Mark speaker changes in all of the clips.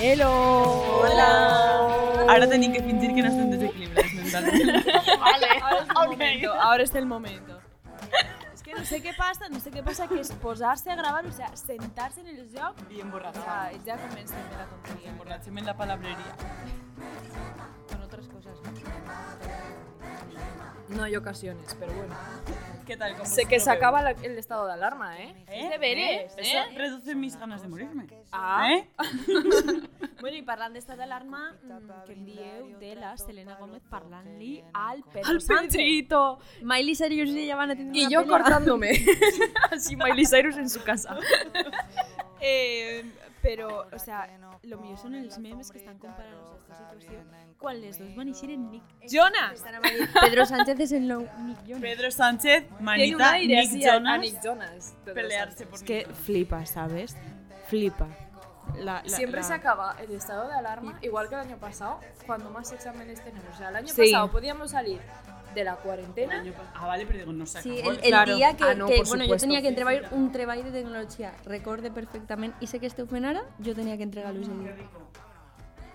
Speaker 1: Hello.
Speaker 2: Hola.
Speaker 3: Ahora tenim que fingir que no estem desequilibrats mentalment.
Speaker 2: Vale.
Speaker 1: Ahora es el momento. Ahora es el momento. Es que no sé qué pasa, no sé qué pasa, que es posarse a grabar, o sea, sentarse en el job.
Speaker 3: I
Speaker 1: O sea, ya comencé a la tontería.
Speaker 3: Emborratxem en la palabreria.
Speaker 1: Con otras cosas.
Speaker 2: No hay ocasiones, pero bueno.
Speaker 3: Què tal? Com
Speaker 2: Sé que se acaba la- el estado de alarma, ¿eh?
Speaker 3: Eh?
Speaker 1: deberes,
Speaker 3: Eso reduce mis ganas de morirme.
Speaker 2: Ah.
Speaker 3: Eh?
Speaker 1: Bueno, i parlant d'estat d'alarma, mm, què en dieu de la Selena Gómez parlant-li al Pedro
Speaker 2: Al
Speaker 1: Sánchez?
Speaker 2: Pedrito.
Speaker 1: Miley Cyrus i ella van a tindre
Speaker 2: Y
Speaker 1: una
Speaker 2: yo
Speaker 1: pelea.
Speaker 2: cortándome. Así Miley Cyrus en su casa.
Speaker 1: Eh, però, o sea, lo millor són els memes que estan comparant aquesta situació quan les dos van eixir en Nick Jonas.
Speaker 4: Pedro Sánchez es el nou Nick Jones.
Speaker 3: Pedro Sánchez,
Speaker 2: Tiene un
Speaker 3: Manita,
Speaker 2: aire
Speaker 3: Nick
Speaker 2: así a- a
Speaker 3: Jonas,
Speaker 2: Nick Jonas. Pedro
Speaker 3: pelearse por
Speaker 1: És que flipa, ¿sabes? Flipa. La, la,
Speaker 2: Siempre
Speaker 1: la...
Speaker 2: se acaba el estado de alarma, igual que el año pasado, cuando más exámenes tenemos. O sea, el año
Speaker 1: Sí.
Speaker 2: pasado podíamos salir de la cuarentena.
Speaker 3: Nick Jonas. Ah, vale, pero digo, no se
Speaker 4: Sí,
Speaker 3: acabó.
Speaker 4: el, el
Speaker 1: Claro.
Speaker 4: día que,
Speaker 2: Ah, no,
Speaker 4: que,
Speaker 2: por
Speaker 4: bueno,
Speaker 2: supuesto.
Speaker 4: yo tenía que entregar un treball de tecnología, recorde perfectament, i sé que esteu fent ara, jo tenia que entregar-lo ese dia.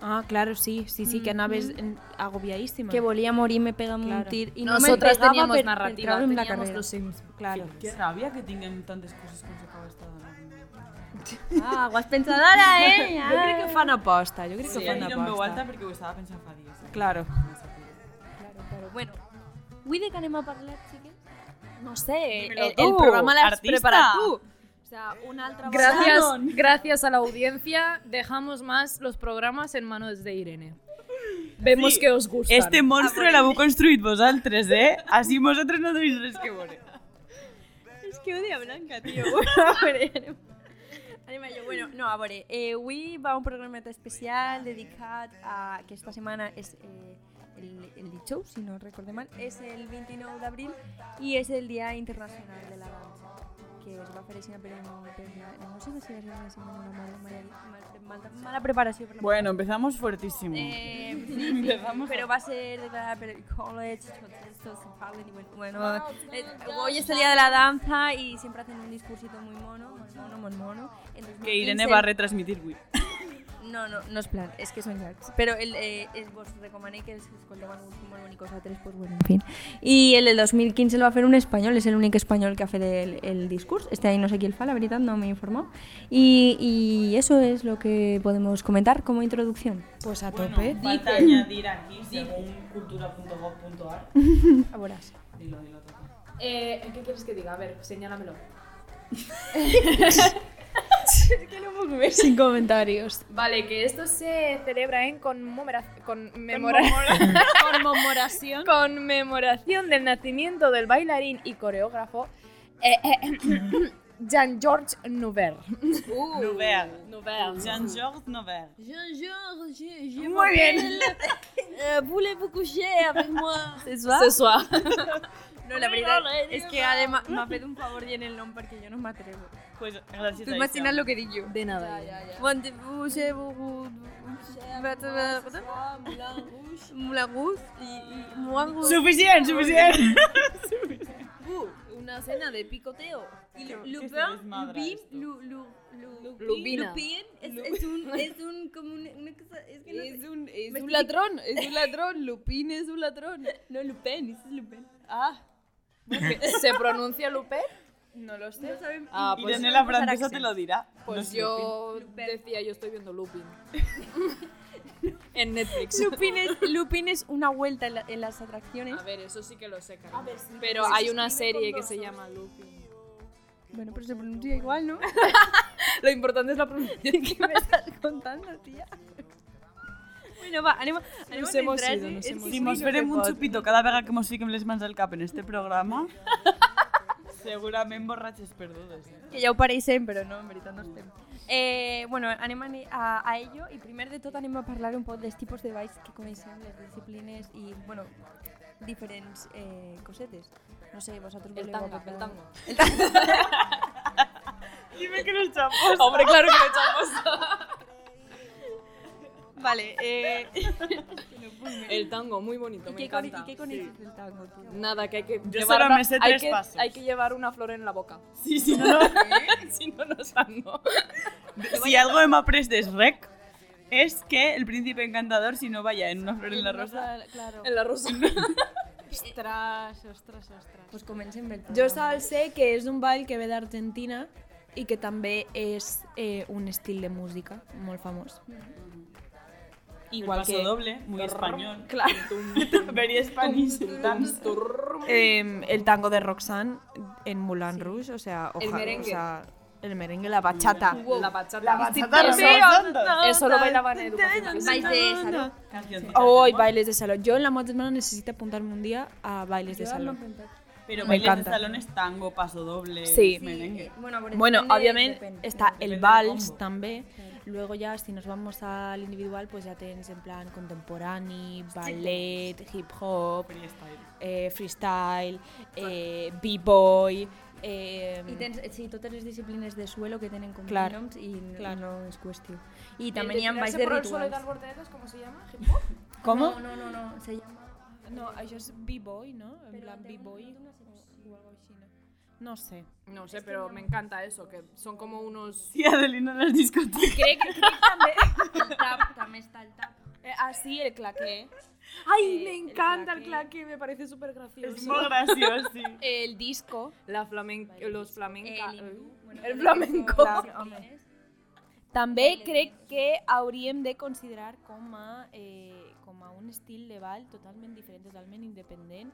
Speaker 1: Ah, claro, sí, sí, sí, que anaves en- agobiadísima.
Speaker 4: Que volia morir, me pegaba un
Speaker 1: Claro.
Speaker 4: tir, y
Speaker 2: Nosotras
Speaker 4: no me
Speaker 2: teníamos
Speaker 4: per,
Speaker 2: narrativa,
Speaker 4: en la
Speaker 2: teníamos
Speaker 4: carrera.
Speaker 2: los Sims.
Speaker 1: Claro.
Speaker 3: Qué rabia que tengan tantas cosas con se acaba esta...
Speaker 4: Ah, ho has pensat ara, eh?
Speaker 1: Jo crec que fan aposta, jo crec
Speaker 3: Sí,
Speaker 1: que fan
Speaker 3: ahí no me
Speaker 1: aposta.
Speaker 3: vuelta porque ho estaba pensando fa eh. días.
Speaker 1: Claro.
Speaker 4: Claro, claro. Bueno, avui de què anem a parlar, xiques?
Speaker 1: No sé, el,
Speaker 3: Dímelo
Speaker 1: el
Speaker 3: tú,
Speaker 1: programa l'has
Speaker 3: artista.
Speaker 1: preparat tu. O sea, una altra
Speaker 2: Gracias,
Speaker 1: vegada.
Speaker 2: gracias a la audiencia, dejamos más los programas en manos de Irene. Vemos que os gustan.
Speaker 3: Este monstruo
Speaker 2: Ah,
Speaker 3: l'heu construït vosaltres, eh? Así vosaltres no tenéis res que veure.
Speaker 4: És que odia Blanca, tio. Bueno, a veure, anem, anem a allò. Bueno, no, a veure, eh, avui va un programeta especial dedicat a... Aquesta setmana és eh, el, el dijous, si no recordem mal, és el 29 d'abril i és el Dia Internacional de la Dansa que es va fer així per, un- per una, no sé si va ser una setmana una mala, mala, mala, mala preparació per la
Speaker 3: Bueno, empezamos fuertísimo.
Speaker 4: Eh, sí, sí, pero va a ser declarada por el college, contextos, Harlem, y bueno, bueno, eh, hoy es el día de la danza y siempre hacen un discursito muy mono, muy mono, muy mono. En 2015
Speaker 3: Que Irene va a retransmitir avui.
Speaker 4: No, no, no es plan, es que son yards. Pero el, eh, es, vos recomané que es col·legan un molt bonic a tres, pues bueno, en fin. Y el del 2015 lo va a hacer un español, es el único español que hace el, el discurso. Este ahí no sé quién fa, la verdad, no me informó. Y, y eso es lo que podemos comentar como introducción.
Speaker 1: Pues a
Speaker 3: Bueno,
Speaker 1: tope.
Speaker 3: falta añadir aquí, según cultura.gov.ar.
Speaker 4: Ahora sí.
Speaker 3: Dilo, dilo todo.
Speaker 2: Eh, ¿Qué quieres que diga? A ver, señálamelo.
Speaker 1: Sin comentarios.
Speaker 2: Vale, que esto se celebra ¿eh? en conmemora- conmemora-
Speaker 1: Conmemoración.
Speaker 2: conmemoración del nacimiento del bailarín y coreógrafo eh, eh, Jean-Georges Nouvelle.
Speaker 3: Nouvelle.
Speaker 2: Nouvelle.
Speaker 3: Jean-Georges Nouvelle.
Speaker 4: Jean-Georges, je,
Speaker 2: Muy bien.
Speaker 4: voulez-vous coucher avec moi Ce soir
Speaker 2: Ce soir.
Speaker 4: No, la verdad es que además me ha pedido un favor y en el nombre porque yo no me atrevo.
Speaker 3: Pues gracias
Speaker 4: ¿Tú
Speaker 3: a
Speaker 4: imaginas
Speaker 3: ella.
Speaker 4: lo que di yo?
Speaker 2: De nada.
Speaker 4: Rendez-vous chez vous, Moulin Rouge y- y Moulin Rouge.
Speaker 3: Suficient, suficient!
Speaker 2: Una cena de picoteo.
Speaker 4: Y Lu-
Speaker 3: Que se
Speaker 4: Lupin,
Speaker 3: desmadra
Speaker 4: Lupin,
Speaker 3: esto.
Speaker 4: Lu- Lu- Lu-
Speaker 2: Lupina.
Speaker 4: Lupin, es es un, es un, como una, una cosa, es que no sé.
Speaker 2: un, es
Speaker 4: Me explica-
Speaker 2: ladrón, es un ladrón. Lupin es un ladrón.
Speaker 4: No, Lupin, ese es Lupin.
Speaker 2: Ah. ¿Se pronuncia Lupin? No lo sé.
Speaker 4: No saben-
Speaker 2: Ah, pues-
Speaker 3: Irene la francesa te lo dirá.
Speaker 2: Pues
Speaker 3: No
Speaker 2: yo
Speaker 4: Lupin.
Speaker 2: decía, yo estoy viendo Lupin. en Netflix.
Speaker 4: Lupin es, Lupin es una vuelta en, la- en las atracciones.
Speaker 2: A ver, eso sí que lo sé, Karen.
Speaker 4: ver, sí,
Speaker 2: Pero
Speaker 4: pues
Speaker 2: hay
Speaker 4: se
Speaker 2: una
Speaker 4: escribe con
Speaker 2: serie que
Speaker 4: dos
Speaker 2: se
Speaker 4: os.
Speaker 2: llama Lupin.
Speaker 4: Bueno, pero se pronuncia igual, ¿no?
Speaker 2: Lo importante es la pronunciación.
Speaker 4: ¿Qué me estás contando, tía? Bueno, va, anem, anem
Speaker 2: Nos
Speaker 4: a
Speaker 2: hemos
Speaker 4: centrar-se.
Speaker 2: ido, nos
Speaker 4: És
Speaker 2: hemos
Speaker 4: que
Speaker 3: Si
Speaker 2: ido.
Speaker 4: no
Speaker 3: mos
Speaker 4: sé
Speaker 3: farem un
Speaker 4: pot.
Speaker 3: xupito cada vegada que mos fiquem les mans al cap en este programa, segurament borratxes perdudes. Eh?
Speaker 4: Que ja ho pareixem, però no, en veritat no estem. Eh, bueno, anem a, ni- a, a ello i primer de tot anem a parlar un poc dels tipus de balls que coneixem, les disciplines i, bueno, diferents eh, cosetes. No sé, vosaltres
Speaker 2: El
Speaker 4: voleu
Speaker 2: tanga,
Speaker 4: aportar-
Speaker 2: el tango.
Speaker 3: Dime que no xapos.
Speaker 2: Hombre, claro que lo echamos.
Speaker 4: Vale, eh,
Speaker 2: El tango, muy bonito,
Speaker 4: i
Speaker 2: me
Speaker 4: què, cone-
Speaker 2: encanta.
Speaker 4: i què coneixes del tango, tu?
Speaker 2: Nada, que hay que
Speaker 3: Yo
Speaker 2: llevar
Speaker 3: solo
Speaker 2: una,
Speaker 3: me sé
Speaker 2: hay
Speaker 3: tres
Speaker 2: que,
Speaker 3: pasos.
Speaker 2: hay que llevar una flor en la boca.
Speaker 3: Sí, sí, no.
Speaker 2: si no, no es tango.
Speaker 3: Si algo hem après des rec, es que el príncipe encantador, si no vaya en una flor en la rosa,
Speaker 5: eh, Claro.
Speaker 1: En la rosa.
Speaker 5: Ostras, ostras, ostras.
Speaker 4: Pues comencem bé.
Speaker 5: Jo sol sé que és un ball que ve d'Argentina i que també és eh, un estil de música molt famós.
Speaker 3: igual que doble, muy español.
Speaker 5: Clar.
Speaker 3: Very Spanish dance.
Speaker 5: Eh, el tango de Roxanne en Moulin Rouge, o sea, oja-
Speaker 1: merengue.
Speaker 5: o sea, el merengue, la bachata.
Speaker 1: La bachata. La
Speaker 3: bachata rosa.
Speaker 1: Eso lo bailaban en
Speaker 2: Pues
Speaker 1: educación.
Speaker 4: Vais de saló.
Speaker 3: Cancioncita.
Speaker 5: Oh, y bailes de salón. Yo en la moderna necesito apuntarme un día a bailes de salón.
Speaker 3: Pero
Speaker 5: Me
Speaker 3: bailes
Speaker 5: encanta.
Speaker 3: de salón es tango, paso doble,
Speaker 5: Sí.
Speaker 3: merengue.
Speaker 4: eh, bueno, a veure,
Speaker 5: Bueno,
Speaker 4: depende-
Speaker 5: obviamente
Speaker 4: depende.
Speaker 5: está
Speaker 3: depende
Speaker 5: el
Speaker 3: del
Speaker 5: vals
Speaker 3: combo.
Speaker 5: también. Luego ya si nos vamos al individual, pues ya tenés en plan contemporáneo, ballet, hip hop,
Speaker 3: Freestyle.
Speaker 5: eh, freestyle, eh, b-boy. eh,
Speaker 4: I tens, sí, totes les disciplines de suelo que tenen com
Speaker 5: Clar.
Speaker 4: noms i,
Speaker 5: Clar.
Speaker 4: clar. no és qüestió. I també n'hi ha balls de rituals.
Speaker 2: ¿cómo se llama? ¿Hip hop?
Speaker 5: ¿Cómo?
Speaker 4: No, no, no, no, se llama...
Speaker 5: No, eso es b-boy, ¿no? En plan
Speaker 4: té una-
Speaker 5: b-boy.
Speaker 4: té una secció.
Speaker 5: o- o algo así, ¿no? No sé.
Speaker 2: No sé, pero me encanta eso, que son como unos...
Speaker 3: Sí, Adelina en las discotecas.
Speaker 5: Crec que també...
Speaker 4: El tap, també està el tap.
Speaker 5: Ah, sí, el claqué.
Speaker 2: ¡Ay,
Speaker 5: Eh,
Speaker 2: me
Speaker 5: el
Speaker 2: encanta el
Speaker 5: claque.
Speaker 2: claque! Me parece súper gracioso.
Speaker 3: Es muy gracioso, sí.
Speaker 5: El disco.
Speaker 2: La flamenca... Los flamenca...
Speaker 4: hindú, bueno,
Speaker 2: eh, el flamenco.
Speaker 4: totes les
Speaker 5: Clar, home.
Speaker 4: disciplines.
Speaker 5: També crec que hauríem de considerar com a, eh, com a un estil de ball totalment diferent, totalment independent,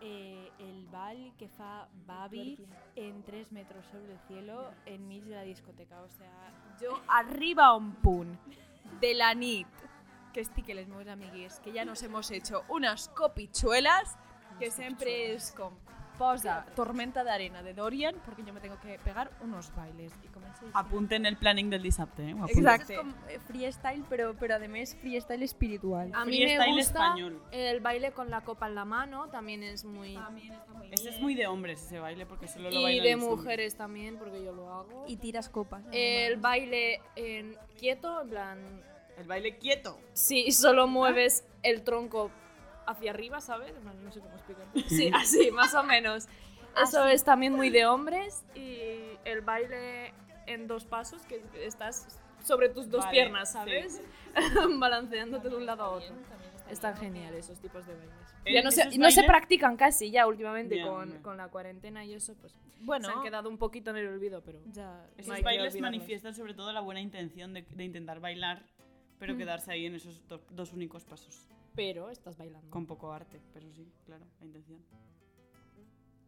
Speaker 5: eh, el ball que fa Babi en 3 metres sobre el cielo enmig de la discoteca. O sea, jo arriba a un punt de la nit que estic amb les meves amigues, que ja nos hemos hecho unas copichuelas, que sempre és com posa Tormenta d'arena de Dorian porque yo me tengo que pegar unos bailes y comença a
Speaker 3: Apunten el planning del dissabte, eh? ho apunten.
Speaker 5: Exacte.
Speaker 4: És com eh, freestyle, però, però a més freestyle espiritual.
Speaker 2: A mí me
Speaker 3: Freestyle
Speaker 2: gusta
Speaker 3: español.
Speaker 2: el baile con la copa en la mano, también es muy...
Speaker 3: Ese es muy de hombres, ese baile, porque solo lo
Speaker 2: Y
Speaker 3: bailan
Speaker 2: de
Speaker 3: los hombres.
Speaker 2: mujeres también, porque yo lo hago.
Speaker 4: I tires copes.
Speaker 2: El baile en quieto, en plan...
Speaker 3: El baile quieto.
Speaker 2: Sí, solo mueves el tronco hacia arriba, ¿sabes? En plan, No sé cómo explicarlo. Sí, así, más o menos. Eso es también muy de hombres. Y el baile en dos pasos, que estás sobre tus dos
Speaker 3: Vale,
Speaker 2: piernas, ¿sabes? Balanceándote de un lado a otro. Están genial esos tipos de bailes.
Speaker 3: Eh,
Speaker 2: Ya no se,
Speaker 3: esos
Speaker 2: no se
Speaker 3: bailes-
Speaker 2: practican casi ya últimamente
Speaker 3: Ya,
Speaker 2: con,
Speaker 3: ya.
Speaker 2: con la cuarentena y eso, pues
Speaker 5: Bueno,
Speaker 2: se han quedado un poquito en el olvido, pero...
Speaker 5: ya.
Speaker 3: Esos
Speaker 2: hay que
Speaker 3: bailes
Speaker 2: olvidarlos.
Speaker 3: manifiestan sobre todo la buena intención de, de intentar bailar, pero
Speaker 2: Mm.
Speaker 3: quedarse ahí en esos do- dos únicos pasos.
Speaker 2: Pero estás bailando.
Speaker 3: Con poco arte, pero sí, claro, la intención.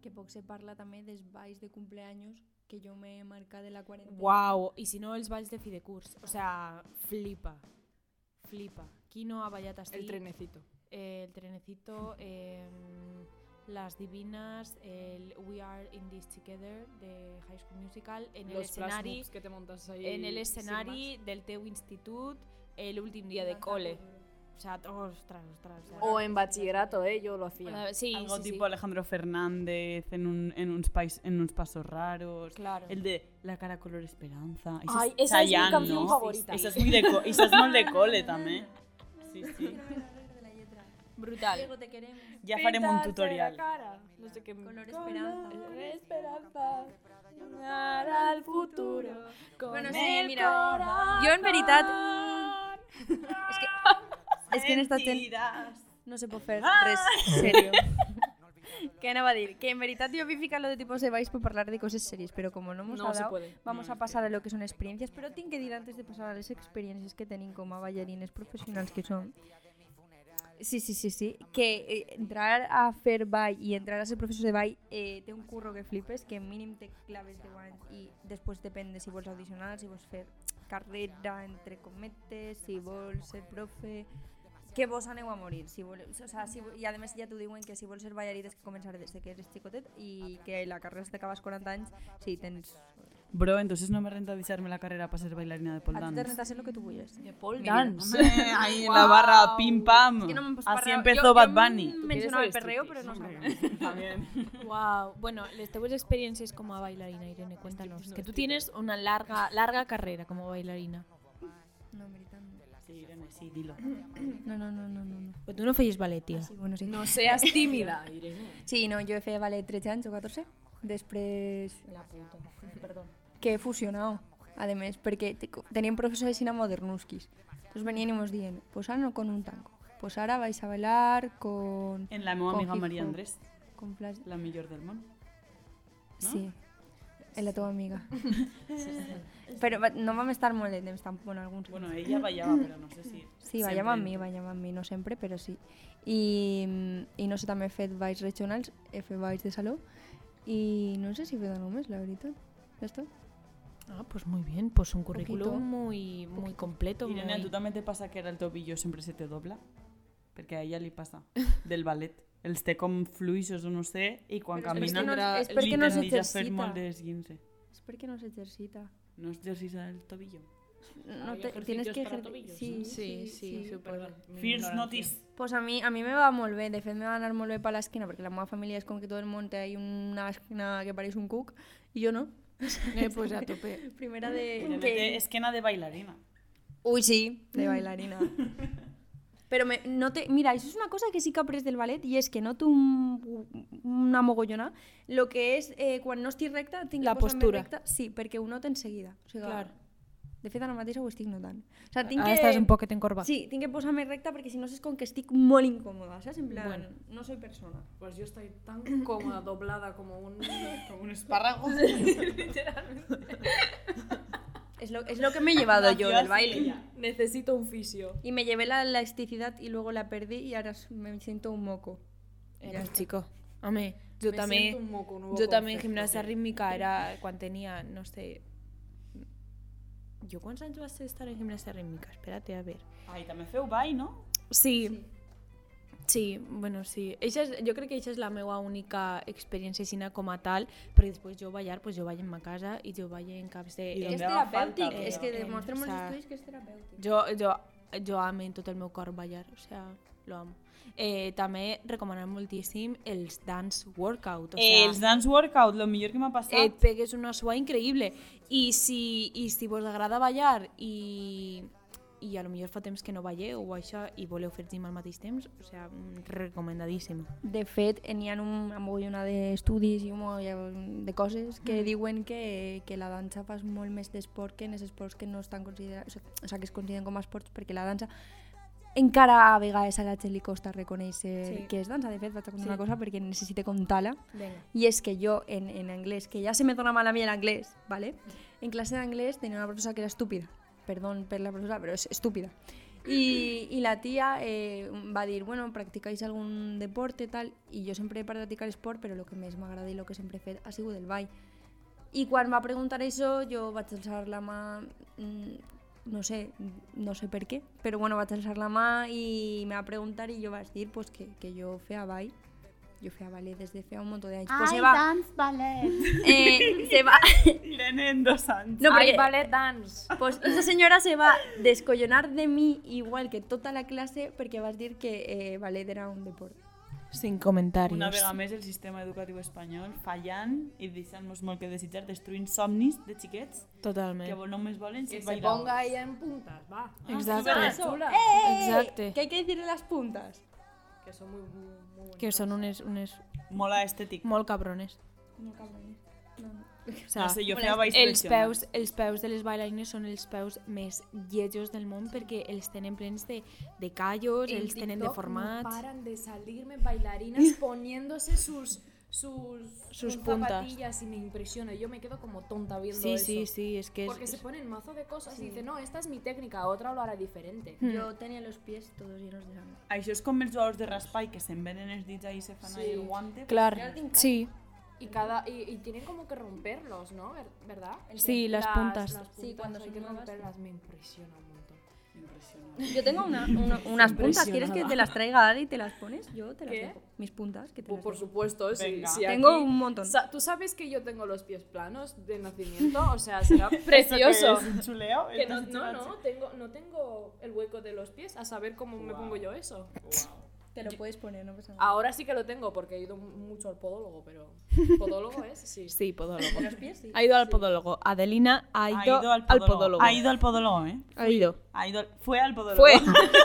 Speaker 4: Que poc se parla també dels balls de cumpleaños que jo m'he marcat de la quarantena.
Speaker 5: Wow, y si no, els balls de Fidecurs. O sea, flipa. Flipa. Qui no ha ballat així?
Speaker 2: El trenecito.
Speaker 5: Eh, el trenecito, eh, Las Divinas, el We Are In This Together de High School Musical, en el
Speaker 2: Los flash
Speaker 5: escenari,
Speaker 2: mobs que te montas ahí.
Speaker 5: en el
Speaker 2: sin
Speaker 5: escenari del teu institut, el últim dia de cole. O sea, ostras, ostras. O sea,
Speaker 2: más. O en bachillerato, ¿eh? Yo lo hacía.
Speaker 5: Bueno, sí,
Speaker 3: Algo
Speaker 5: sí, sí.
Speaker 3: tipo Alejandro Fernández en, un, en, uns pais- en unos pasos raros.
Speaker 5: Claro.
Speaker 3: El de La cara color esperanza.
Speaker 2: Ay, esa es mi
Speaker 3: Chayanne,
Speaker 2: canción
Speaker 3: ¿no?
Speaker 2: favorita.
Speaker 3: Esa es muy de, co- esa es molt de cole, también. Sí, sí.
Speaker 4: de la lletra.
Speaker 5: Brutal.
Speaker 4: Diego, te queremos.
Speaker 3: Ya haremos un
Speaker 2: Pintarse
Speaker 3: tutorial.
Speaker 2: la cara. No sé qué.
Speaker 4: Color esperanza.
Speaker 2: Color esperanza. Mirar al futuro. Con
Speaker 4: Bueno, sí,
Speaker 2: el
Speaker 4: mira,
Speaker 2: corazón.
Speaker 4: jo en veritat- És que, és que en esta ten...
Speaker 3: Mentiras.
Speaker 4: no se pot fer
Speaker 2: ¡Ah!
Speaker 4: res serio. Què anava a dir? Que en veritat jo havia ficat lo de tipus de balls per parlar de coses serias, però com no mos
Speaker 2: No
Speaker 4: ha
Speaker 2: se
Speaker 4: dado,
Speaker 2: puede.
Speaker 4: vamos a pasar a lo que son experiencias, però tinc que dir antes de pasar a les experiències que tenim com a ballarines professionals que som. Sí, sí, sí, sí, que eh, entrar a fer ball i entrar a ser professor de ball eh, té un curro que flipes, que mínim te claves 10 anys i després depèn de si vols audicionar, si vols fer carrera, entre cometes, si vols ser profe, que vos aneu a morir. Si vols, o sea, si, vo- I a més ja t'ho diuen que si vols ser ballarí has de començar des de que eres xicotet i que la carrera se t'acaba als 40 anys si tens...
Speaker 3: Bro, entonces no me rentabilizarme la carrera para ser bailarina de pole
Speaker 4: A tu
Speaker 3: dance.
Speaker 4: t'arrentes a ser lo que tu vulles.
Speaker 2: De Paul
Speaker 3: Mira,
Speaker 2: Dance.
Speaker 3: hombre, ahí en la barra, pim pam.
Speaker 4: que no me han puesto
Speaker 3: Así
Speaker 4: parreo.
Speaker 3: empezó
Speaker 4: Yo- yo
Speaker 3: Bad Bunny.
Speaker 4: Mencionava el
Speaker 2: Eres
Speaker 4: perreo,
Speaker 2: striptease,
Speaker 4: però no
Speaker 2: hombre.
Speaker 4: sabia.
Speaker 3: También.
Speaker 5: Wow, bueno, las teves experiencias como bailarina, Irene, cuéntanos. Que tú tienes una larga, larga carrera como bailarina.
Speaker 4: No, en veritat, no.
Speaker 3: Sí, Irene, sí, dilo.
Speaker 4: No, no, no, no, no. no.
Speaker 5: Pero tú no feies ballet, tía.
Speaker 4: Ah, Sí, bueno, sí.
Speaker 2: No seas tímida, Irene.
Speaker 4: Sí, no, jo he fet valer 13 anys o 14. Després... La puta, perdó. Que he fusionat, a més, perquè te- teníem professors així modernuskis. Nos venían y nos dijeron, pues ahora no con un tango. Pues ahora vais a bailar con...
Speaker 3: En la meva amiga
Speaker 4: Con
Speaker 3: María
Speaker 4: hip-hop.
Speaker 3: Andrés,
Speaker 4: con flash...
Speaker 3: la millor del món. no?
Speaker 4: Sí. En la teva amiga. Pero va- no vam estar molt de temps tampoc en alguns.
Speaker 3: Bueno, ella ballaba, pero no sé si...
Speaker 4: Sí,
Speaker 3: sempre.
Speaker 4: ballava amb mi, ballava amb mi, no sempre, però sí. I, i no sé, també he fet balls regionals, he fet balls de saló, i no sé si he fet alguna més, la veritat. Ja està.
Speaker 5: Ah, pues muy bien, pues un currículum
Speaker 4: Poquito.
Speaker 5: muy, muy completo.
Speaker 3: Irene, a
Speaker 5: muy-
Speaker 3: tu també te passa que ara el tobillo sempre se te dobla? Perquè a ella li passa, del ballet. Els té com fluixos o no sé, i quan
Speaker 4: Però és
Speaker 3: camina
Speaker 4: que no- és
Speaker 3: li
Speaker 4: perquè no
Speaker 3: tendeix a fer
Speaker 4: s'exercita.
Speaker 3: molt d'esguince.
Speaker 4: És perquè no s'exercita.
Speaker 3: No exercita el tobillo.
Speaker 4: No
Speaker 2: Hay
Speaker 4: te, tienes
Speaker 2: ejercicios
Speaker 4: que
Speaker 2: para
Speaker 4: ejer-
Speaker 2: tobillos,
Speaker 4: sí,
Speaker 2: ¿no?
Speaker 4: sí, sí.
Speaker 2: perdón, mi
Speaker 3: First
Speaker 2: ignorancia.
Speaker 3: notice.
Speaker 4: Pues a mi, a mi me va molt bé, de fet me va anar molt bé per l'esquena, perquè la meva família és com que tot el món té ahí una esquena que pareix un cuc, i jo no.
Speaker 5: Eh, pues a tope.
Speaker 4: Primera de...
Speaker 3: Irene té esquena de bailarina.
Speaker 4: Uy, sí, de bailarina. Pero me- no te, mira, eso es una cosa que sí que aprendes del ballet y es que noto un, una mogollona lo que és eh, quan no estic recta, tinc
Speaker 5: La
Speaker 4: que posar-me
Speaker 5: postura.
Speaker 4: Recta, sí, perquè ho noto enseguida. O sigui,
Speaker 5: Claro.
Speaker 4: De fet, ara mateix ho estic notant. O sigui, tinc
Speaker 5: Ahora
Speaker 4: que...
Speaker 5: estás un poquet encorvada.
Speaker 4: Sí, tinc que posar-me recta perquè si no és com que estic molt incòmoda, saps? En plan,
Speaker 5: Bueno.
Speaker 4: no soy persona.
Speaker 2: Pues yo estoy tan cómoda, doblada como un...
Speaker 3: Com un espárrago.
Speaker 4: Es lo, es lo que me he llevado yo del baile.
Speaker 2: Necesito un fisio.
Speaker 4: Y me llevé la elasticidad y luego la perdí y ahora me siento un moco.
Speaker 5: Eh, pues, chico, home, yo
Speaker 2: Me
Speaker 5: también...
Speaker 2: siento un moco, nuevo
Speaker 5: Yo también
Speaker 2: concepto.
Speaker 5: gimnasia rítmica era cuando tenía, no sé... ¿Yo cuántos años vas a estar en gimnasia rítmica? Espérate, a ver.
Speaker 3: Ai, també feu ball, no?
Speaker 5: Sí. Sí, bueno, sí. Eixa és, jo crec que això és la meva única experiència aixina com a tal, perquè després jo ballar, pues jo ballo en ma casa i jo ballo en caps de...
Speaker 3: I
Speaker 4: Es
Speaker 3: donde haga
Speaker 4: terapèutic,
Speaker 3: falta,
Speaker 4: és
Speaker 3: però.
Speaker 4: que
Speaker 5: Eh,
Speaker 4: demostren molts
Speaker 5: o sea,
Speaker 4: estudis que és terapèutic.
Speaker 5: Jo, jo, jo amo en tot el meu cor ballar, o sea, lo amo. Eh, també recomanar moltíssim els dance workout, o sea,
Speaker 3: Eh, Els dance workout, lo millor que m'ha
Speaker 5: et
Speaker 3: passat.
Speaker 5: pegues una suà increïble. I si, i si vos agrada ballar i, i a lo millor fa temps que no balleu o això i voleu fer gym al mateix temps, o sea, mm, recomendadíssim.
Speaker 4: De fet, n'hi ha un, una mogollona d'estudis i un mogolló de coses que diuen que, que la dansa fas molt més d'esport que en els esports que no estan considerats, o sigui, que es consideren com a esports, perquè la dansa encara a vegades a la gent li costa reconèixer sí.
Speaker 5: Sí.
Speaker 4: que és dansa. De fet, vaig a contar
Speaker 5: Sí.
Speaker 4: sí. una cosa perquè necessite contar-la.
Speaker 5: Vinga.
Speaker 4: Y es que yo en, en inglés, que ya se me torna mal a mí el inglés, ¿vale? En clase de inglés tenía una profesora que era estúpida. Perdón por la profesora, pero es estúpida. Y, y la tía eh, va a decir, bueno, ¿practicáis algún deporte tal? Y yo siempre he practicado sport, pero lo que más me agrada y lo que siempre he fet ha sido del baile. Y cuando me va a preguntar eso, yo voy a alzar la mano, no sé, no sé por qué, pero bueno, va a alzar la mano y me va a preguntar y yo voy a decir pues que, que yo fea baile. Yo fea ballet desde fea un montón de años. Pues se va, eh, se va.
Speaker 3: Irene en dos anys.
Speaker 4: No,
Speaker 2: Ay,
Speaker 4: porque
Speaker 2: ballet dance.
Speaker 4: pues esa señora se va a descollonar de mí igual que toda la clase porque vas a decir que eh, ballet era un deporte.
Speaker 5: Sin comentarios.
Speaker 3: Una vegada més el sistema educatiu espanyol fallant i deixant-nos molt que desitjar, destruint somnis de xiquets
Speaker 5: Totalment.
Speaker 3: que vol- només volen ser
Speaker 2: Que se
Speaker 3: bailar.
Speaker 2: ponga ella en puntas, va.
Speaker 5: Exacte.
Speaker 2: Ah,
Speaker 5: Eso.
Speaker 2: chula.
Speaker 4: eh.
Speaker 5: Exacte.
Speaker 4: Que hay que decirle las puntas.
Speaker 2: Que son muy, muy muy
Speaker 5: Que són unes, unes
Speaker 3: Mola estètic.
Speaker 5: molt cabrones.
Speaker 4: No, cabrón.
Speaker 5: O sea,
Speaker 3: No sé, jo feia balls
Speaker 5: els
Speaker 3: tradicionals.
Speaker 5: peus, els peus de les bailarines són els peus més lletjos del món perquè els tenen plens de, de callos,
Speaker 2: En
Speaker 5: els tenen
Speaker 2: TikTok No
Speaker 5: deformats.
Speaker 2: paran de salirme bailarinas poniéndose sus sus,
Speaker 5: Sus puntas.
Speaker 2: zapatillas y me impresiona. Yo me quedo como tonta viendo
Speaker 5: Sí,
Speaker 2: eso.
Speaker 5: sí, sí, és que
Speaker 2: Porque
Speaker 5: és,
Speaker 2: se ponen mazo de cosas y dicen, no, esta es mi técnica, otra lo hará diferente.
Speaker 4: Yo tenía los pies todos llenos de sangre.
Speaker 3: Això és com els jugadors de raspall que se'n venen els dits ahí i se fan ahí el guante.
Speaker 5: Clar, sí,
Speaker 2: Y cada y, y tienen como que romperlos, ¿no? Ver- ¿Verdad?
Speaker 5: Sí, las puntas.
Speaker 4: Sí, cuando
Speaker 2: hay
Speaker 4: son
Speaker 2: que
Speaker 4: nuevas.
Speaker 2: romperlas me impresiona un montón.
Speaker 3: Impressionant.
Speaker 4: Yo tengo una- una- unas puntas. ¿Quieres que te las traiga Ari y te las pones? Yo te las
Speaker 2: ¿Qué?
Speaker 4: dejo. Mis puntas, que te
Speaker 2: Pues
Speaker 4: las
Speaker 2: por
Speaker 4: dejo.
Speaker 2: supuesto, sí.
Speaker 3: Venga.
Speaker 2: sí,
Speaker 4: Tengo
Speaker 2: aquí-
Speaker 4: un montón.
Speaker 2: Sa- Tú sabes que yo tengo los pies planos de nacimiento, o sea, será precioso.
Speaker 3: Això que és un xuleo?
Speaker 2: Que no,
Speaker 3: Estàs
Speaker 2: no,
Speaker 3: xulat?
Speaker 2: no, tengo, no tengo el hueco de los pies, a saber cómo me pongo yo eso.
Speaker 4: Te lo puedes poner, no pasa nada.
Speaker 2: Ahora sí que lo tengo porque he ido mucho al podólogo, pero... ¿Podólogo es? Sí.
Speaker 5: sí, podólogo.
Speaker 4: Los pies sí.
Speaker 5: Ha ido al podólogo. Adelina ha ido,
Speaker 3: Ha ido al podólogo. Ha ido al podólogo, ¿eh?
Speaker 5: Ha ido.
Speaker 3: Ha ido al- Fue al podólogo.
Speaker 5: Fue.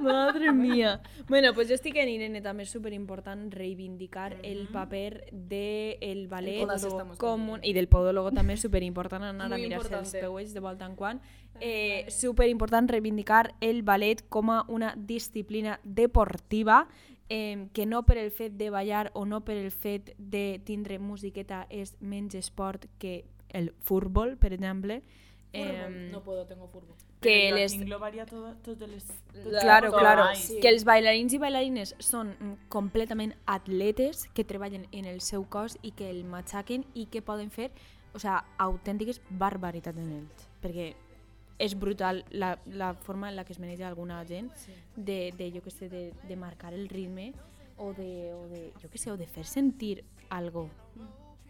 Speaker 5: Madre mía. Bueno, pues yo estoy que en Irene también es súper importante reivindicar el papel del el ballet
Speaker 2: podólogo. Todas estamos con
Speaker 5: común
Speaker 2: Irene.
Speaker 5: y del podólogo también súper importante anar a
Speaker 2: Muy
Speaker 5: mirar-se els
Speaker 2: importante.
Speaker 5: peuells de volta en quan. Eh, súper important reivindicar el ballet com a una disciplina deportiva eh, que no per el fet de ballar o no per el fet de tindre musiqueta és menys esport que el futbol, per exemple. Em,
Speaker 2: no puedo, tengo furbo.
Speaker 5: que
Speaker 3: Però
Speaker 5: les-
Speaker 3: englobaria tot, tot de les...
Speaker 2: La-
Speaker 5: Claro,
Speaker 2: Tot
Speaker 5: claro.
Speaker 2: mai. Sí.
Speaker 5: Que els bailarins i bailarines són mm, completament atletes que treballen en el seu cos i que el matxaquen i que poden fer o sea, autèntiques barbaritats en ells. Perquè és brutal la, la forma en la que es maneja alguna gent de, de, jo que sé, de, de marcar el ritme o de, o de, jo que sé, o de fer sentir algo.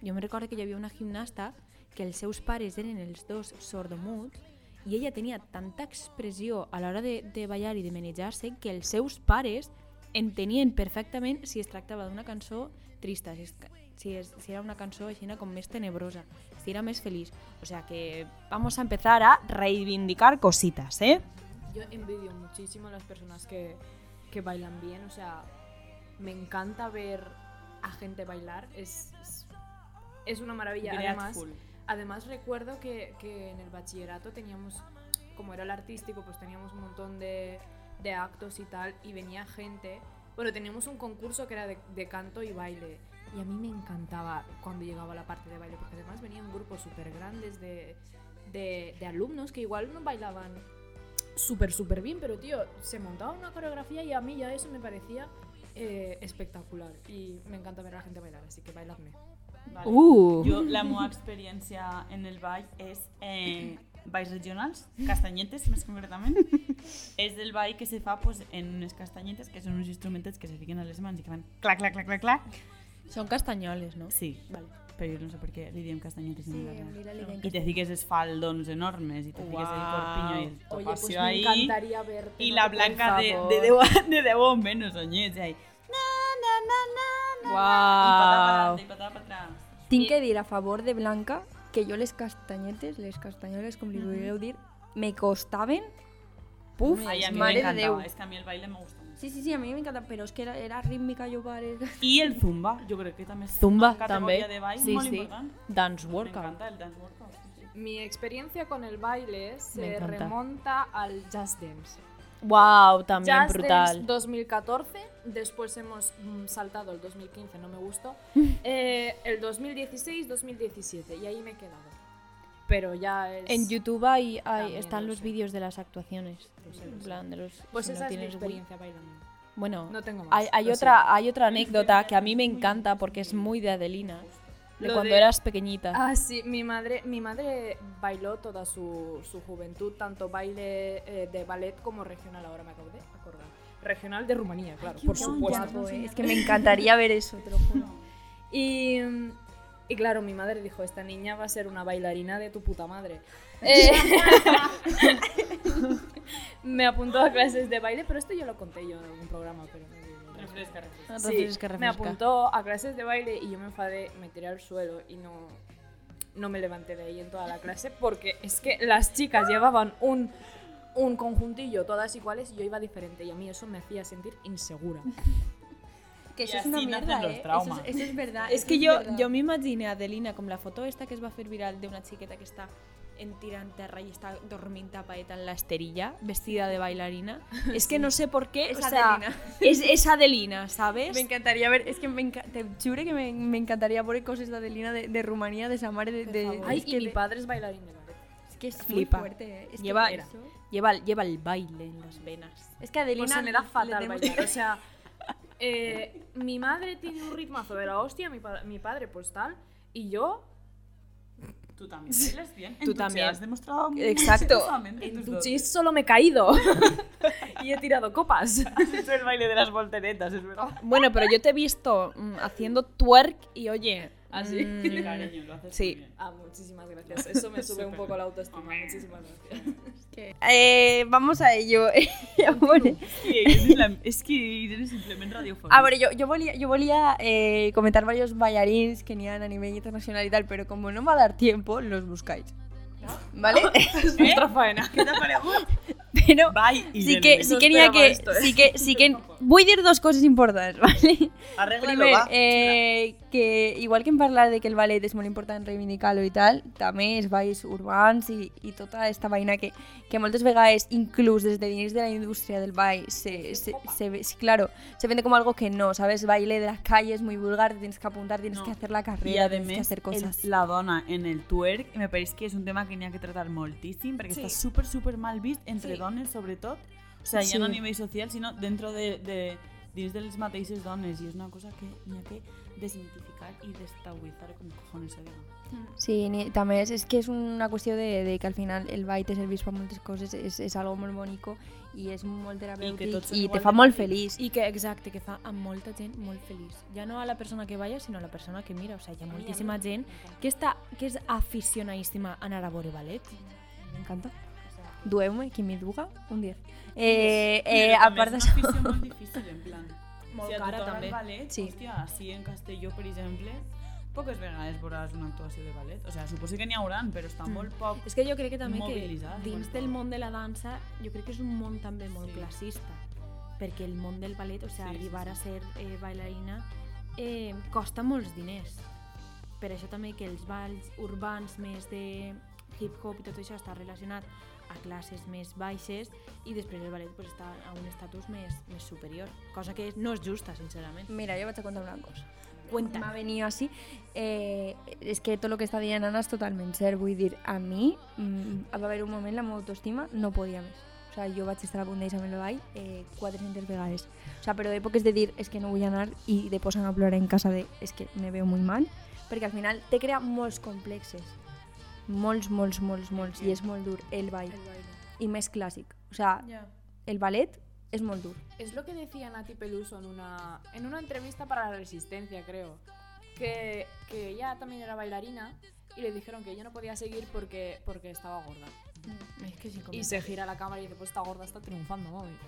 Speaker 5: Jo me recordo que hi havia una gimnasta que els seus pares eren els dos sordomuts i ella tenia tanta expressió a l'hora de, de ballar i de manejar-se que els seus pares entenien perfectament si es tractava d'una cançó trista, si, es, si, es, si era una cançó així com més tenebrosa, si era més feliç. O sea que vamos a empezar a reivindicar cositas, ¿eh?
Speaker 2: Yo envidio muchísimo a las personas que, que bailan bien, o sea, me encanta ver a gente bailar, es, es, es una maravilla. Además,
Speaker 3: Grateful.
Speaker 2: Además recuerdo que, que en el bachillerato teníamos, como era el artístico, pues teníamos un montón de, de actos y tal, y venía gente. Bueno, teníamos un concurso que era de, de canto y baile. Y a mí me encantaba cuando llegaba la parte de baile, porque además venían grupos súper grandes de, de- de alumnos que igual no bailaban súper, súper bien, pero tío, se montaba una coreografía y a mí ya eso me parecía eh, espectacular. Y me encanta ver a la gente bailar, así que bailadme.
Speaker 3: Vale.
Speaker 5: Uh!
Speaker 3: Jo, la meva experiència en el ball és eh, balls regionals, castanyetes més concretament. és el ball que se fa pues, en unes castanyetes, que són uns instrumentets que se fiquen a les mans i que fan clac, clac, clac, clac, clac.
Speaker 5: Són castanyoles, no?
Speaker 3: Sí,
Speaker 5: Vale.
Speaker 3: però jo no sé per què li diem castanyetes. en català. I
Speaker 4: Mira,
Speaker 3: te fiques els faldons enormes i te fiques el corpiño y el topacio
Speaker 2: Oye, pues me
Speaker 3: ahí.
Speaker 2: encantaría verte.
Speaker 3: Y
Speaker 2: no
Speaker 3: la
Speaker 2: te- por
Speaker 3: blanca de,
Speaker 2: favor.
Speaker 3: de, debo, de debo menos, oñez, ahí. Na, na, na, na, na.
Speaker 5: Ah. Guau.
Speaker 3: Y patada para atrás.
Speaker 4: Tinc que dir a favor de Blanca que jo les castanyetes, les castanyoles, com li vulgueu dir, me costaven... Puf,
Speaker 3: Ay, a mí me
Speaker 4: mare de Déu.
Speaker 3: encantaba. Es que a mí el baile me gusta mucho.
Speaker 4: Sí, sí, sí, a mi m'encanta, però és que era, era rítmica, jo pare...
Speaker 3: Y el zumba, yo creo que también es
Speaker 5: Zumba,
Speaker 3: una categoría
Speaker 5: también.
Speaker 3: de baile
Speaker 5: Sí,
Speaker 3: muy
Speaker 5: sí.
Speaker 3: importante.
Speaker 5: Dance
Speaker 3: Me
Speaker 5: workout.
Speaker 3: encanta el dance workout. sí, sí.
Speaker 2: Mi experiencia con el baile se
Speaker 5: encanta.
Speaker 2: remonta al Jazz Dance.
Speaker 5: Wow, también
Speaker 2: Jazz Dance
Speaker 5: brutal.
Speaker 2: 2014, después hemos mm, saltado el 2015, no me gustó, eh, el 2016, 2017, y ahí me he quedado. Pero ya es...
Speaker 5: En YouTube hay, hay-
Speaker 2: También
Speaker 5: están
Speaker 2: lo
Speaker 5: los
Speaker 2: sé.
Speaker 5: vídeos de las actuaciones.
Speaker 2: Lo sé,
Speaker 5: En
Speaker 2: lo sé.
Speaker 5: plan, de los,
Speaker 2: Pues
Speaker 5: si no
Speaker 2: esa es mi
Speaker 5: tienes Wii.
Speaker 2: experiencia bailando.
Speaker 5: Bueno,
Speaker 2: No tengo más.
Speaker 5: hay, hay
Speaker 2: lo
Speaker 5: otra, hay otra anécdota que a mí me encanta porque es muy de Adelina, de
Speaker 2: Lo
Speaker 5: cuando
Speaker 2: de-
Speaker 5: eras pequeñita.
Speaker 2: Ah, sí, mi madre, mi madre bailó toda su, su juventud, tanto baile eh, de ballet como regional, ahora me acabo de acordar. Regional de Rumanía, claro, por supuesto.
Speaker 4: Guapo, eh? És que m'encantaria ver eso, te lo juro.
Speaker 2: Y, mm, y claro, mi madre dijo, esta niña va a ser una bailarina de tu puta madre. Eh, me apuntó a clases de baile, pero esto yo lo conté yo en algún programa, pero no- no- no-
Speaker 3: Refresca, refresca.
Speaker 5: Entonces
Speaker 2: Sí,
Speaker 5: es que
Speaker 2: me
Speaker 5: refresca.
Speaker 2: apuntó a clases de baile y yo me enfadé, me tiré al suelo y no, no me levanté de ahí en toda la clase porque es que las chicas llevaban un, un conjuntillo, todas iguales, y yo iba diferente y a mí eso me hacía sentir insegura.
Speaker 4: Que
Speaker 3: Y
Speaker 4: eso es una
Speaker 3: así nacen
Speaker 4: mierda,
Speaker 3: los
Speaker 4: eh? Eso
Speaker 3: traumas.
Speaker 4: es, eso es verdad.
Speaker 5: Ah, Es
Speaker 4: eso
Speaker 5: que yo,
Speaker 4: verdad.
Speaker 5: yo me imaginé a Adelina con la foto esta que es va a hacer viral de una chiqueta que está en tiranterra y está dormida paeta en la esterilla, vestida de bailarina. Es que no sé por qué,
Speaker 4: Es
Speaker 5: o sea,
Speaker 4: Adelina.
Speaker 5: es, es Adelina, ¿sabes?
Speaker 4: Me encantaría ver, es que me enca- te juro que me, me encantaría ver cosas de Adelina de, de Rumanía, de Samar, de... de-
Speaker 5: favor.
Speaker 2: Ay,
Speaker 4: es
Speaker 2: y
Speaker 4: que
Speaker 2: mi
Speaker 4: de-
Speaker 2: padre es bailarín de ballet.
Speaker 4: Es que es
Speaker 5: Flipa.
Speaker 4: muy fuerte, eh. Es que
Speaker 5: Lleva-
Speaker 4: eso-
Speaker 5: Lleva, lleva el baile en las venas.
Speaker 4: Es que a Adelina
Speaker 2: Pues se me da
Speaker 4: le
Speaker 2: fatal
Speaker 4: tenemos-
Speaker 2: bailar, o sea... eh, mi madre tiene un ritmazo de la hostia, mi, pa- mi padre pues tal, y yo
Speaker 3: Tú también bailas bien.
Speaker 5: Tú
Speaker 3: Tú también.
Speaker 5: también.
Speaker 3: Has demostrado muy
Speaker 5: Exacto.
Speaker 3: exitosamente
Speaker 2: en
Speaker 3: tus
Speaker 2: tu
Speaker 3: dotes.
Speaker 2: chis solo me he caído y he tirado copas.
Speaker 3: Has hecho el baile de las volteretas, es verdad.
Speaker 5: Bueno, pero yo te he visto mm, haciendo twerk y oye.
Speaker 2: ¿Ah, sí?
Speaker 5: mm,
Speaker 3: Sí, cariño, lo haces
Speaker 5: Sí.
Speaker 3: muy bien.
Speaker 2: Ah, muchísimas gracias. Eso me sube un poco la autoestima. Muchísimas gracias.
Speaker 4: Eh, vamos a ello. Amore.
Speaker 3: Sí, eres la- es que Irene simplemente radiofónica.
Speaker 4: A ver, yo, yo volía, yo volía eh, comentar varios bailarines que tenían a nivel internacional y tal, pero como no me va a dar tiempo, los buscáis. ¿Vale?
Speaker 2: Es nuestra faena.
Speaker 3: ¿Qué te parece?
Speaker 4: Pero
Speaker 3: Bye. y
Speaker 4: sí
Speaker 3: Irene.
Speaker 4: que, sí
Speaker 2: No
Speaker 4: quería
Speaker 2: esperaba
Speaker 4: que,
Speaker 2: esto, ¿eh?
Speaker 4: sí que, sí que, voy a decir dos cosas importantes, ¿vale?
Speaker 3: Arréglalo,
Speaker 4: Primer,
Speaker 3: va.
Speaker 4: eh, que igual que en parlar de que el ballet és molt important reivindicar-lo i tal, també els balls urbans i, i tota aquesta vaina que, que moltes vegades, inclús des de dins de la indústria del ball, se, se, se, ve- sí, claro, se vende como algo que no, ¿sabes? Baile de las calles, muy vulgar, tienes que apuntar, tienes
Speaker 3: No.
Speaker 4: que hacer la
Speaker 3: I
Speaker 4: carrera,
Speaker 3: a
Speaker 4: tienes que
Speaker 3: més,
Speaker 4: hacer cosas.
Speaker 3: el, la dona en el twerk me pareix que és un tema que n'hi ha que tratar moltíssim perquè sí. està super, super mal vist entre sí. dones sobretot, o sigui, ja no a
Speaker 4: Sí.
Speaker 3: nivell social sinó dentro de, de dins de les mateixes dones i és una cosa que n'hi ha que desmitificar i destabilitzar com cojones se diga.
Speaker 4: Sí, ni, també és, és que és una qüestió de, de que al final el ball te serveix per moltes coses, és, és algo molt bonico i és molt terapèutic
Speaker 3: tots són
Speaker 4: i, te
Speaker 3: igual
Speaker 4: fa
Speaker 3: de
Speaker 4: molt
Speaker 3: vàlids.
Speaker 4: feliç.
Speaker 5: I que, exacte, que fa a molta gent molt feliç. Ja no a la persona que vaya, sinó a la persona que mira. O sigui, hi ha moltíssima gent que, està, que és aficionadíssima a anar a veure ballet.
Speaker 4: M'encanta. Dueu-me, qui m'hi duga, un 10. Eh, eh,
Speaker 3: Però
Speaker 4: a
Speaker 3: també és una
Speaker 4: part d'això...
Speaker 3: afició molt difícil, en plan.
Speaker 5: Molt
Speaker 3: si et
Speaker 5: cara,
Speaker 3: toca
Speaker 5: també.
Speaker 3: El ballet, sí.
Speaker 4: Sí.
Speaker 3: hòstia, així en Castelló, per exemple, poques vegades veuràs una actuació de ballet. O sigui, suposo que n'hi hauran, però
Speaker 4: Hmm.
Speaker 3: està molt poc.
Speaker 5: És que jo crec que també que
Speaker 3: Mobilitzar,
Speaker 5: dins
Speaker 3: igual.
Speaker 5: del món de la dansa, jo crec que és un món també molt
Speaker 3: Sí.
Speaker 5: classista. Perquè el món del ballet, o sigui,
Speaker 3: Sí, sí,
Speaker 5: arribar
Speaker 3: sí.
Speaker 5: a ser eh, bailarina eh, costa molts diners. Per això també que els balls urbans més de hip-hop i tot això està relacionat a classes més baixes i després el ballet pues, està a un estatus més, més superior, cosa que no és justa, sincerament.
Speaker 4: Mira, jo vaig a contar una cosa. M'ha
Speaker 5: Cuenta.
Speaker 4: venit així. Eh, és que tot el que està dient Anna és totalment cert. Vull dir, a mi mm, va haver un moment la meva autoestima no podia més. O sigui, jo vaig estar a punt d'eixar amb el ball eh, 400 vegades. O sigui, però d'èpoques de dir és que no vull anar i de posar a plorar en casa de és que me veu molt mal, perquè al final te crea molts complexes. Molts, molts, molts, molts. I és molt dur el ball. I més clàssic. O sigui, el ballet és molt dur.
Speaker 2: Es lo que decía Nati Peluso en una, en una entrevista para La Resistencia, creo. Que, que ella también era bailarina y le dijeron que ella no podía seguir porque, porque estaba gorda.
Speaker 5: És que sí, com...
Speaker 2: Y se gira la cámara y dice, pues esta gorda está triunfando, mami.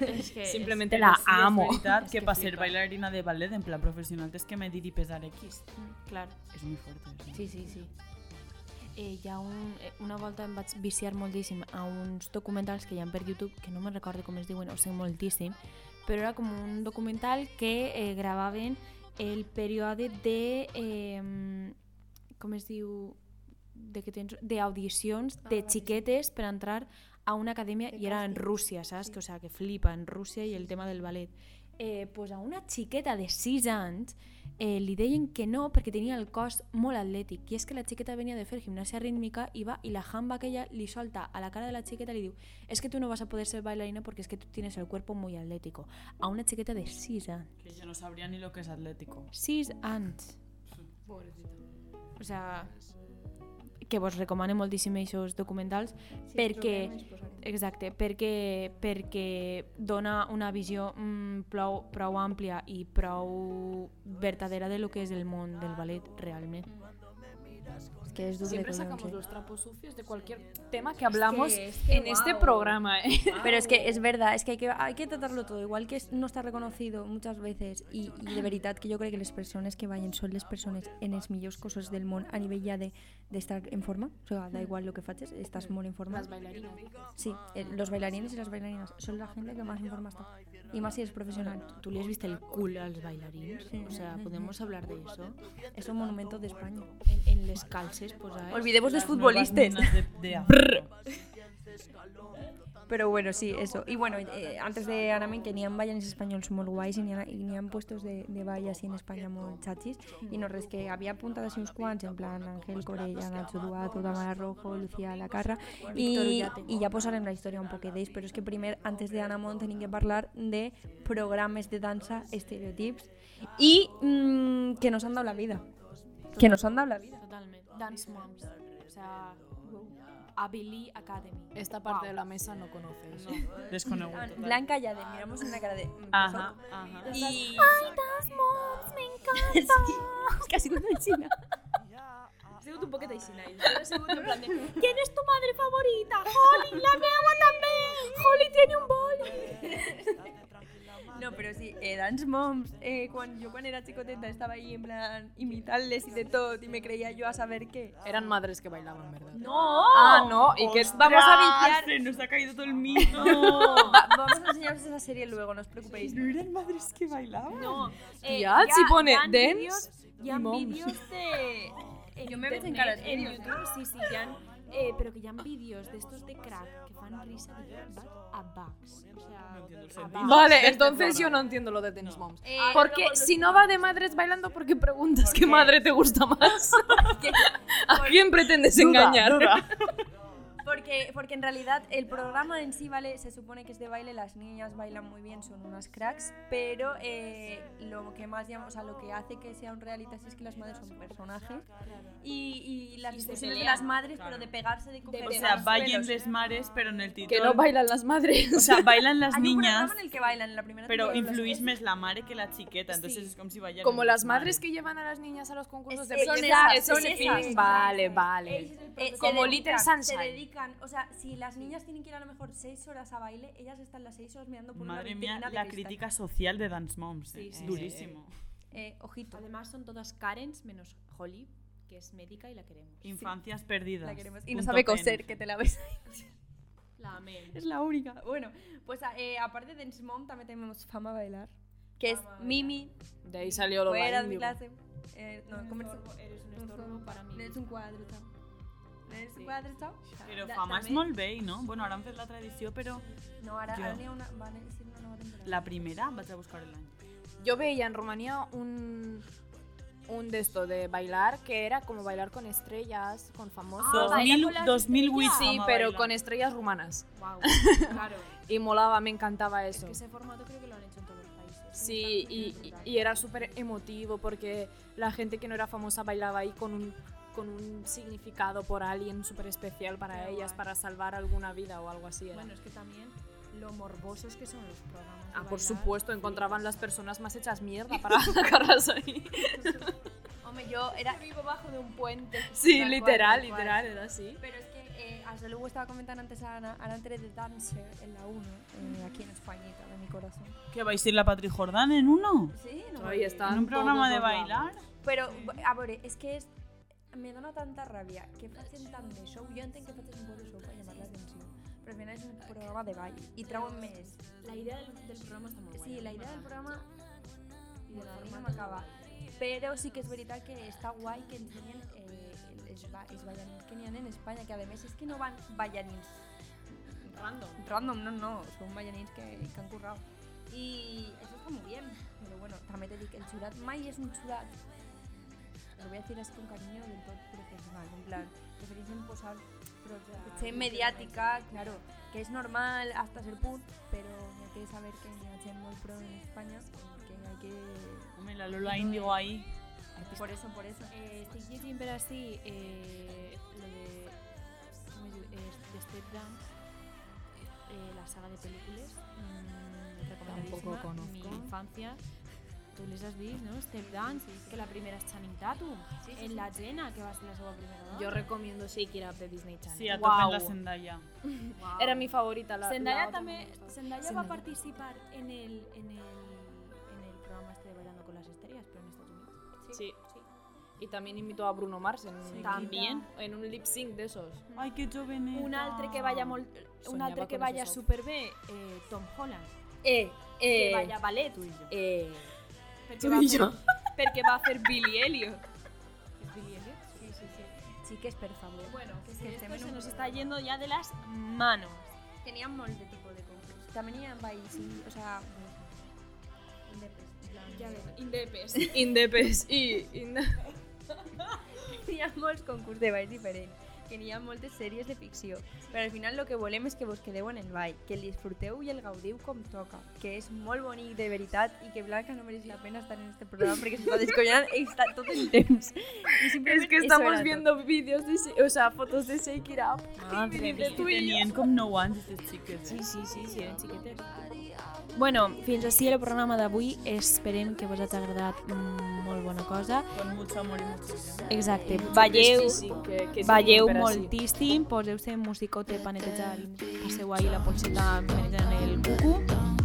Speaker 5: és que
Speaker 2: Simplemente
Speaker 3: Però
Speaker 2: la
Speaker 3: sí,
Speaker 2: amo.
Speaker 3: És veritat que
Speaker 2: que
Speaker 3: per ser
Speaker 2: flipa.
Speaker 3: bailarina de ballet en plan professional tens que medir i pesar X.
Speaker 5: Clar.
Speaker 3: És molt fort. Sí.
Speaker 5: Sí, sí, sí. Eh, hi ha un, eh, una volta em vaig viciar moltíssim a uns documentals que hi ha per YouTube, que no me'n recordo com es diuen, ho sé moltíssim, però era com un documental que eh, gravaven el període de... Eh, com es diu? De que tens, de audicions de xiquetes per entrar a una acadèmia i era en Rússia, saps? Que, o sea, que flipa, en Rússia i el tema del ballet. Eh, pues a una xiqueta de 6 anys eh, li deien que no perquè tenia el cos molt atlètic i és que la xiqueta venia de fer gimnàsia rítmica i va i la jamba aquella li solta a la cara de la xiqueta i li diu es que tu no vas a poder ser bailarina porque es que tú tienes el cuerpo muy atlético a una xiqueta de 6 anys
Speaker 3: Que jo no sabria ni lo que és atlético.
Speaker 5: 6 anys o sea que vos recomano moltíssim aquests documentals sí, perquè exacte, perquè, perquè dona una visió mm, prou, prou àmplia i prou verdadera de lo que és el món del ballet realment
Speaker 4: És que és dur
Speaker 2: Siempre
Speaker 4: de
Speaker 2: sacamos
Speaker 4: collons, eh?
Speaker 2: los trapos sucios de cualquier tema que hablamos en este
Speaker 4: wow.
Speaker 2: programa. ¿eh?
Speaker 4: Pero es que es verdad, es que hay que, hay que tratarlo todo, igual que es- no está reconocido muchas veces i, i de veritat que jo crec que les persones que ballen són les persones en els millors coses del món a nivell ja de- d'estar de, en forma, o sea, da igual lo que facis, estàs molt en forma.
Speaker 2: Las bailarinas.
Speaker 4: Sí, eh, los bailarines y las bailarinas son la gente que más en forma està, i más si és professional.
Speaker 5: tu li has vist el cul als bailarins
Speaker 4: Sí.
Speaker 5: o sea, podemos hablar de eso
Speaker 4: És un monumento d'Espanya.
Speaker 5: en, en les calces posar
Speaker 4: Olvidemos dels
Speaker 3: Futbolistes.
Speaker 4: futbolistes.
Speaker 3: De, de afro.
Speaker 4: Pero bueno, sí, eso. Y bueno, eh, antes de Anamen, que ni han vallas españoles muy guays y ni han, y ni han puestos de, de vallas así en España muy chachis. Y no res que había puntadas y unos cuantos, en plan Ángel Corella, Nacho Duato, Tamara Rojo, Lucía Lacarra. Y, y ya posarem la historia un poquedéis, pero es que primer, antes de Anamon, tenim que hablar de programas de danza, estereotips y mm, que nos han dado la vida. Que nos han dado la vida.
Speaker 5: totalment Dance Moms o sea, Abilí Academy
Speaker 2: Esta parte de la mesa no conoces.
Speaker 3: Desconegut. total.
Speaker 4: Blanca ya de miramos una cara de... mm,
Speaker 3: Ajá, ajá.
Speaker 4: Y...
Speaker 5: Dance Moms, me encanta
Speaker 4: Casi una china.
Speaker 2: un poquito de Sinai.
Speaker 5: ¿Quién es tu madre favorita? Holly, la meva també! Holly tiene un boli!
Speaker 4: No, No, pero sí, eh, Dance Moms, eh, cuando, yo cuando era chicoteta estaba ahí en plan imitarles y de todo, y me creía yo a saber qué.
Speaker 1: Eran madres que bailaban, ¿verdad?
Speaker 4: ¡No!
Speaker 5: "Oh,
Speaker 1: Ah, no, y que vamos a
Speaker 3: ¡Ah, se nos ha caído todo el mito!
Speaker 4: Va- vamos a enseñaros esa serie luego, no os preocupéis.
Speaker 3: ¿No eran madres que bailaban?
Speaker 5: No, eh,
Speaker 1: Ya, si pone
Speaker 5: ya han
Speaker 1: dance
Speaker 5: vídeos- ya han
Speaker 1: moms.
Speaker 5: vídeos de. en
Speaker 4: Yo me meto en
Speaker 5: internet,
Speaker 4: caras
Speaker 5: En
Speaker 4: vídeos,
Speaker 5: YouTube, sí, sí, ya han. eh, pero que ya han vídeos de estos de crack que fan risa de bad a bugs. O sea,
Speaker 3: entiendo el
Speaker 5: a
Speaker 3: sentido.
Speaker 5: bugs.
Speaker 1: Vale, entonces yo no entiendo lo de Tennis Moms.
Speaker 5: Eh,
Speaker 1: Porque si no va de madres bailando, ¿por qué preguntas qué madre te gusta más? ¿A quién pretendes engañar?
Speaker 4: Porque, porque en realidad el programa en sí, ¿vale? Se supone que es de baile, las niñas bailan muy bien, son unas cracks, pero eh, lo que más llama, o sea, lo que hace que sea un reality es que las madres son personajes y, y las discusiones de las madres, pero de pegarse, de coger
Speaker 3: O
Speaker 4: de
Speaker 3: sea,
Speaker 4: los
Speaker 3: bailen
Speaker 4: pelos. ¿eh?
Speaker 3: les mares, pero en el título...
Speaker 1: Que no bailan las madres.
Speaker 3: O sea, bailan las
Speaker 4: Hay un
Speaker 3: niñas,
Speaker 4: programa en el que bailan en la primera
Speaker 3: pero
Speaker 4: temporada, las
Speaker 3: influís més la mare que la chiqueta, entonces
Speaker 5: Sí.
Speaker 3: es como si bailaran
Speaker 1: Como las madres que llevan a las niñas a los concursos de
Speaker 4: Son
Speaker 1: belleza.
Speaker 4: esas,
Speaker 1: Ese
Speaker 4: son
Speaker 1: feeling.
Speaker 4: esas.
Speaker 1: Vale,
Speaker 5: Ese
Speaker 1: vale.
Speaker 5: es
Speaker 4: Eh,
Speaker 5: el
Speaker 4: se
Speaker 5: prototipo.
Speaker 1: Como
Speaker 4: dedican-
Speaker 1: Little Sunshine.
Speaker 4: Se dedican, o sea, si las niñas tienen que ir a lo mejor 6 horas a baile, ellas están las 6 horas mirando por
Speaker 3: Madre
Speaker 4: una
Speaker 3: mía,
Speaker 4: vitrina de
Speaker 3: la
Speaker 4: cristal.
Speaker 3: crítica social de Dance Moms.
Speaker 5: Sí, sí,
Speaker 3: Durísimo.
Speaker 4: Eh, ojito,
Speaker 5: Además son todas Karens menos Holly, que es médica y la queremos.
Speaker 3: Infancias perdidas.
Speaker 4: la queremos. Y no
Speaker 3: Punto
Speaker 4: sabe
Speaker 3: pen.
Speaker 4: coser, que te la ves
Speaker 5: La amé.
Speaker 4: Es la única. Bueno, pues a- eh, aparte de Dance Mom también tenemos Fama Bailar, que es Mimi,
Speaker 1: De ahí salió lo
Speaker 4: fuera de mi
Speaker 1: índigo.
Speaker 4: clase. Eh, no,
Speaker 5: Un
Speaker 4: ¿cómo es?
Speaker 5: estorbo, Eres un
Speaker 4: un
Speaker 5: estorbo
Speaker 4: estorbo.
Speaker 5: para mí.
Speaker 4: Eres un cuadro, chao. Eres un
Speaker 5: Sí.
Speaker 4: cuadre, chao.
Speaker 3: Pero
Speaker 4: Da-
Speaker 3: fama es
Speaker 4: també-
Speaker 3: molt bé, no? Bueno, ara han fet la tradició, però
Speaker 4: No, ahora,
Speaker 3: Yo.
Speaker 4: ahora ni a una, van a decir una nueva temporada.
Speaker 3: la primera vaig a buscar el any.
Speaker 1: Yo veía en Rumanía un, un de esto de bailar que era como bailar con estrellas, con famosos.
Speaker 5: Ah, baila con las
Speaker 3: 2008
Speaker 5: estrellas.
Speaker 1: sí,
Speaker 3: Fama
Speaker 1: pero
Speaker 3: Bailar.
Speaker 1: con estrellas rumanas.
Speaker 5: Wow, claro.
Speaker 1: Y molaba, me encantaba
Speaker 5: Es
Speaker 1: eso.
Speaker 5: que ese formato creo que lo han hecho en todos los países.
Speaker 1: Sí, y, y- y era súper emotivo porque la gente que no era famosa bailaba ahí con un, con un significado por alguien súper especial para
Speaker 5: Qué
Speaker 1: ellas,
Speaker 5: guay.
Speaker 1: para salvar alguna vida o algo así. era.
Speaker 5: Bueno, es que también lo morbosos que son los programas. de
Speaker 1: ah, por
Speaker 5: bailar,
Speaker 1: supuesto,
Speaker 5: flipas.
Speaker 1: encontraban las personas más hechas mierda para sacarlas ahí.
Speaker 4: Hombre, yo era...
Speaker 5: Vivo bajo de un puente.
Speaker 1: Sí,
Speaker 4: Tal cual,
Speaker 1: literal,
Speaker 4: tal cual.
Speaker 1: literal, era así.
Speaker 4: Pero es que eh, hasta luego estaba comentando antes a Ana, Ana Tere de Dancer en la 1, eh, aquí en Españita, de mi corazón.
Speaker 3: Que vais a ir la Patri Jordán en uno?
Speaker 4: Sí,
Speaker 1: Ahí está.
Speaker 3: En un programa de bailar?
Speaker 4: Pero, bu- a ver, es que es, me dona tanta rabia que hacen tan de show. Yo entiendo que hacen un poco de show para llamar la atención. Pero al final es un programa de baile. Y Dragon mes.
Speaker 5: La idea del, del programa está muy buena.
Speaker 4: Sí, la idea del programa
Speaker 5: Y
Speaker 4: por
Speaker 5: del
Speaker 4: ahí no
Speaker 5: formato
Speaker 4: me acaba. Pero sí que es verdad que está guay que enseñen eh, els, ba- els ballarins que n'hi ha en España, que además es que no van ballarins
Speaker 5: Random.
Speaker 4: random, no, no, son ballarins que, que han currado. Y eso está muy bien, pero bueno, también te digo que el churat mai es un churat. Lo voy a decir así con cariño del todo profesional, en plan, preferís posar che mediática, claro, que es normal hasta ser punt, pero hay que saber que hi ha gent molt pro en España, que hay que...
Speaker 3: Hombre, la Lola Índigo ahí.
Speaker 4: Por eso, por eso.
Speaker 5: Eh, estoy yo siempre así, eh, lo de, ¿cómo es? Eh, de Step Dance, eh, la saga de películas, mm, recomendadísima,
Speaker 1: conozco.
Speaker 5: mi infancia. Tú les has visto, ¿no? Step Dance, que la primera es Channing Tatum, en la Jena, que va a ser la segunda primera, ¿no?
Speaker 1: Yo recomiendo Shake It Up de Disney Channel.
Speaker 3: Sí, a tope en
Speaker 1: Guau.
Speaker 3: la Zendaya.
Speaker 1: Era mi favorita. La, la
Speaker 5: Zendaya
Speaker 1: otra
Speaker 5: también,
Speaker 1: me gustaba.
Speaker 5: Zendaya, va a
Speaker 1: Zendaya.
Speaker 5: participar en el, en el, en el programa este de Bailando con las Estrellas, pero en Estados Unidos.
Speaker 1: Sí. Y también invitó a Bruno Mars en, un-
Speaker 5: También.
Speaker 1: en un lip sync de esos.
Speaker 3: Ay, qué joven
Speaker 5: Un altre que vaya, molt, un
Speaker 1: Soñaba
Speaker 5: altre que
Speaker 1: con esos
Speaker 5: vaya
Speaker 1: outfits.
Speaker 5: super bé, eh, Tom Holland,
Speaker 1: Eh,
Speaker 5: que vaya ballet.
Speaker 3: Tú y yo.
Speaker 1: eh.
Speaker 5: Perquè va, fer, perquè va fer Billy Elliot. ¿Es Billy Elliot? Sí, sí, sí.
Speaker 4: Chiques, por favor.
Speaker 5: Bueno, que
Speaker 4: Que
Speaker 5: esto
Speaker 4: estem en
Speaker 5: Pues se
Speaker 4: un
Speaker 5: nos
Speaker 4: programa.
Speaker 5: está yendo ya de las manos.
Speaker 4: Tenían molde tipo de concursos. También iban bailes, y, o sea... Ya ves.
Speaker 5: Indepes.
Speaker 1: Indepes y. ind-
Speaker 4: Tenían molts concursos de bailes diferents. Que n'hi ha moltes sèries de ficció. Però al final el que volem és que vos quedeu en el ball, que el disfruteu i el gaudiu com toca, que és molt bonic de veritat i que Blanca no mereix la pena estar en este programa perquè s'està descollant i està tot el temps. I simplement
Speaker 1: Es que
Speaker 4: eso era
Speaker 1: estamos
Speaker 4: tot.
Speaker 1: viendo vídeos de. Sh- O sea, fotos de Shake It Up.
Speaker 5: Madre mía.
Speaker 3: Que tenien com 9 anys, aquestes xiques.
Speaker 5: Sí, sí, sí, sí, eren xiquetes. Bueno, fins així el programa d'avui. Esperem que vos hagi agradat mm, molt bona cosa.
Speaker 3: Con mucho amor y mucho bien.
Speaker 5: Exacte, balleu,
Speaker 1: Sí, sí, que, que sí,
Speaker 5: balleu
Speaker 1: pero así.
Speaker 5: moltíssim, poseu-se musicote pa netejar, passeu ahí la polseta menjant el cucu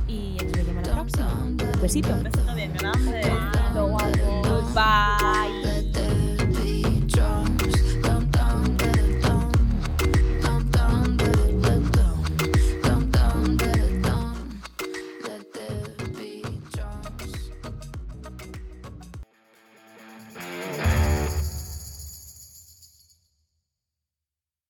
Speaker 5: i ens veiem a la pròxima. besito.
Speaker 3: Un besito bien grande.
Speaker 5: Goodbye.